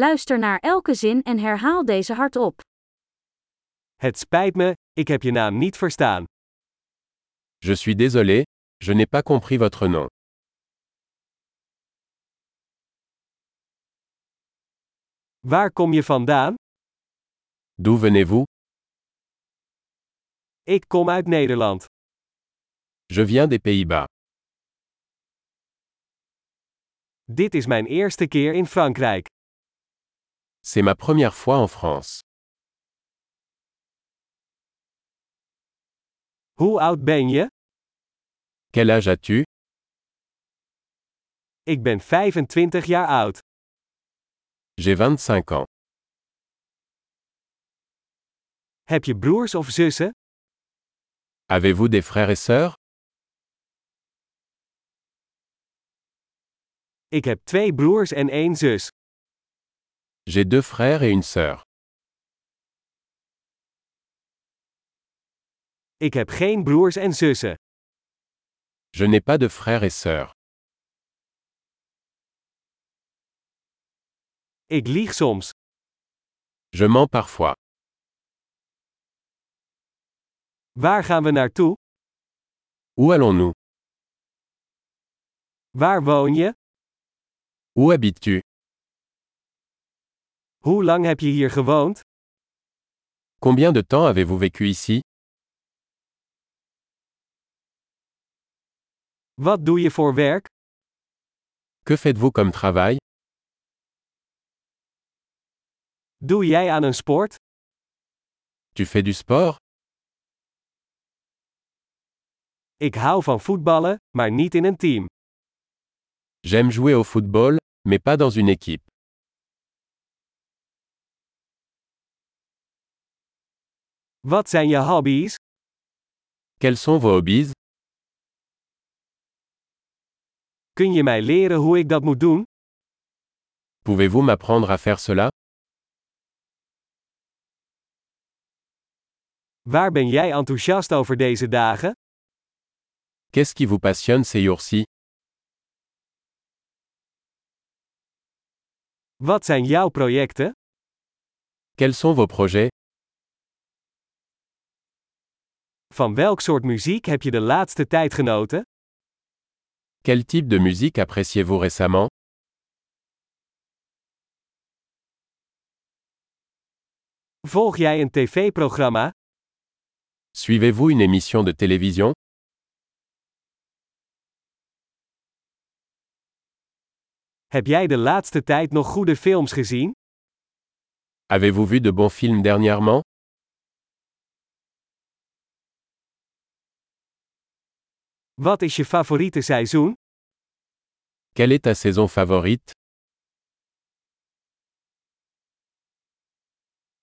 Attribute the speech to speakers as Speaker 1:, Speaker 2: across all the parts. Speaker 1: Luister naar elke zin en herhaal deze hardop.
Speaker 2: Het spijt me, ik heb je naam niet verstaan.
Speaker 3: Je suis désolé, je n'ai pas compris votre nom.
Speaker 2: Waar kom je vandaan?
Speaker 3: D'où venez-vous
Speaker 2: Ik kom uit Nederland.
Speaker 3: Je viens des Pays-Bas.
Speaker 2: Dit is mijn eerste keer in Frankrijk.
Speaker 3: C'est ma première fois en France.
Speaker 2: Hoe oud ben je?
Speaker 3: Quel âge as-tu
Speaker 2: Ik ben 25 jaar oud.
Speaker 3: J'ai 25 ans.
Speaker 2: Heb je broers of zussen?
Speaker 3: Avez-vous des frères et sœurs
Speaker 2: Ik heb twee broers en één zus.
Speaker 3: J'ai deux frères et une sœur.
Speaker 2: Ik heb geen broers en zussen.
Speaker 3: Je n'ai pas de frères et sœurs.
Speaker 2: Ik lieg soms.
Speaker 3: Je mens parfois.
Speaker 2: Waar gaan we naartoe?
Speaker 3: Où allons-nous
Speaker 2: Waar woon je?
Speaker 3: Où habites-tu
Speaker 2: Hoe lang heb je hier gewoond?
Speaker 3: Combien de temps avez-vous vécu ici
Speaker 2: Wat doe je voor werk?
Speaker 3: Que faites-vous comme travail
Speaker 2: Doe jij aan een sport?
Speaker 3: Tu fais du sport
Speaker 2: Ik hou van voetballen, maar niet in een team.
Speaker 3: J'aime jouer au football, mais pas dans une équipe.
Speaker 2: Wat zijn je hobby's?
Speaker 3: Quels sont vos hobbies
Speaker 2: Kun je mij leren hoe ik dat moet doen?
Speaker 3: Pouvez-vous m'apprendre à faire cela
Speaker 2: Waar ben jij enthousiast over deze dagen?
Speaker 3: Qu'est-ce qui vous passionne ces jours-ci
Speaker 2: Wat zijn jouw projecten?
Speaker 3: Quels sont vos projets
Speaker 2: Van welk soort muziek heb je de laatste tijd genoten?
Speaker 3: Quel type de musique appréciez-vous récemment
Speaker 2: Volg jij een tv-programma?
Speaker 3: Suivez-vous une émission de télévision
Speaker 2: Heb jij de laatste tijd nog goede films gezien?
Speaker 3: Avez-vous vu de bons films dernièrement
Speaker 2: Wat is je favoriete seizoen?
Speaker 3: Quelle est ta saison favorite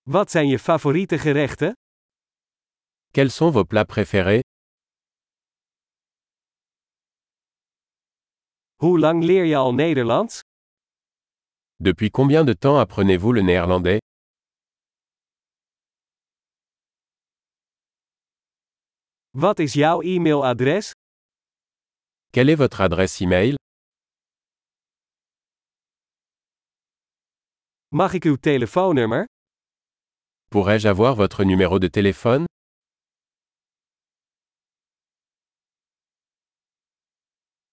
Speaker 2: Wat zijn je favoriete gerechten?
Speaker 3: Quels sont vos plats préférés
Speaker 2: Hoe lang leer je al Nederlands?
Speaker 3: Depuis combien de temps apprenez-vous le néerlandais
Speaker 2: Wat is jouw e-mailadres?
Speaker 3: Quelle est votre adresse e-mail
Speaker 2: Mag ik uw telefoonnummer?
Speaker 3: Pourrais-je avoir votre numéro de téléphone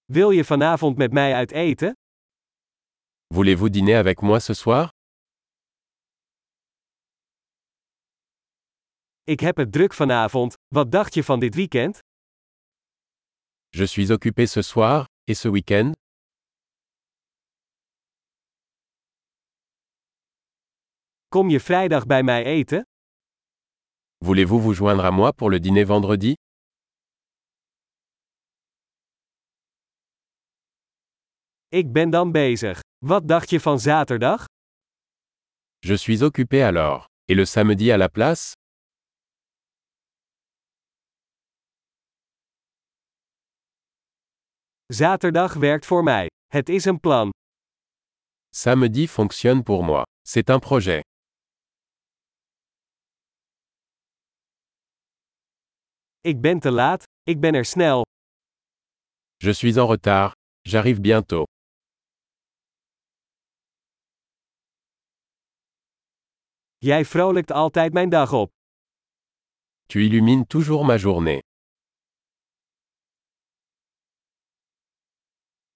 Speaker 2: Wil je vanavond met mij uit eten?
Speaker 3: Voulez-vous dîner avec moi ce soir
Speaker 2: Ik heb het druk vanavond. Wat dacht je van dit weekend?
Speaker 3: Je suis occupé ce soir, et ce week-end
Speaker 2: Kom je vrijdag bij mij eten?
Speaker 3: Voulez-vous vous joindre à moi pour le dîner vendredi
Speaker 2: Ik ben dan bezig. Wat dacht je van zaterdag?
Speaker 3: Je suis occupé alors. Et le samedi à la place
Speaker 2: Zaterdag werkt voor mij. Het is een plan.
Speaker 3: Samedi fonctionne pour moi. C'est un projet.
Speaker 2: Ik ben te laat, ik ben er snel.
Speaker 3: Je suis en retard. J'arrive bientôt.
Speaker 2: Jij vrolijkt altijd mijn dag op.
Speaker 3: Tu illumines toujours ma journée.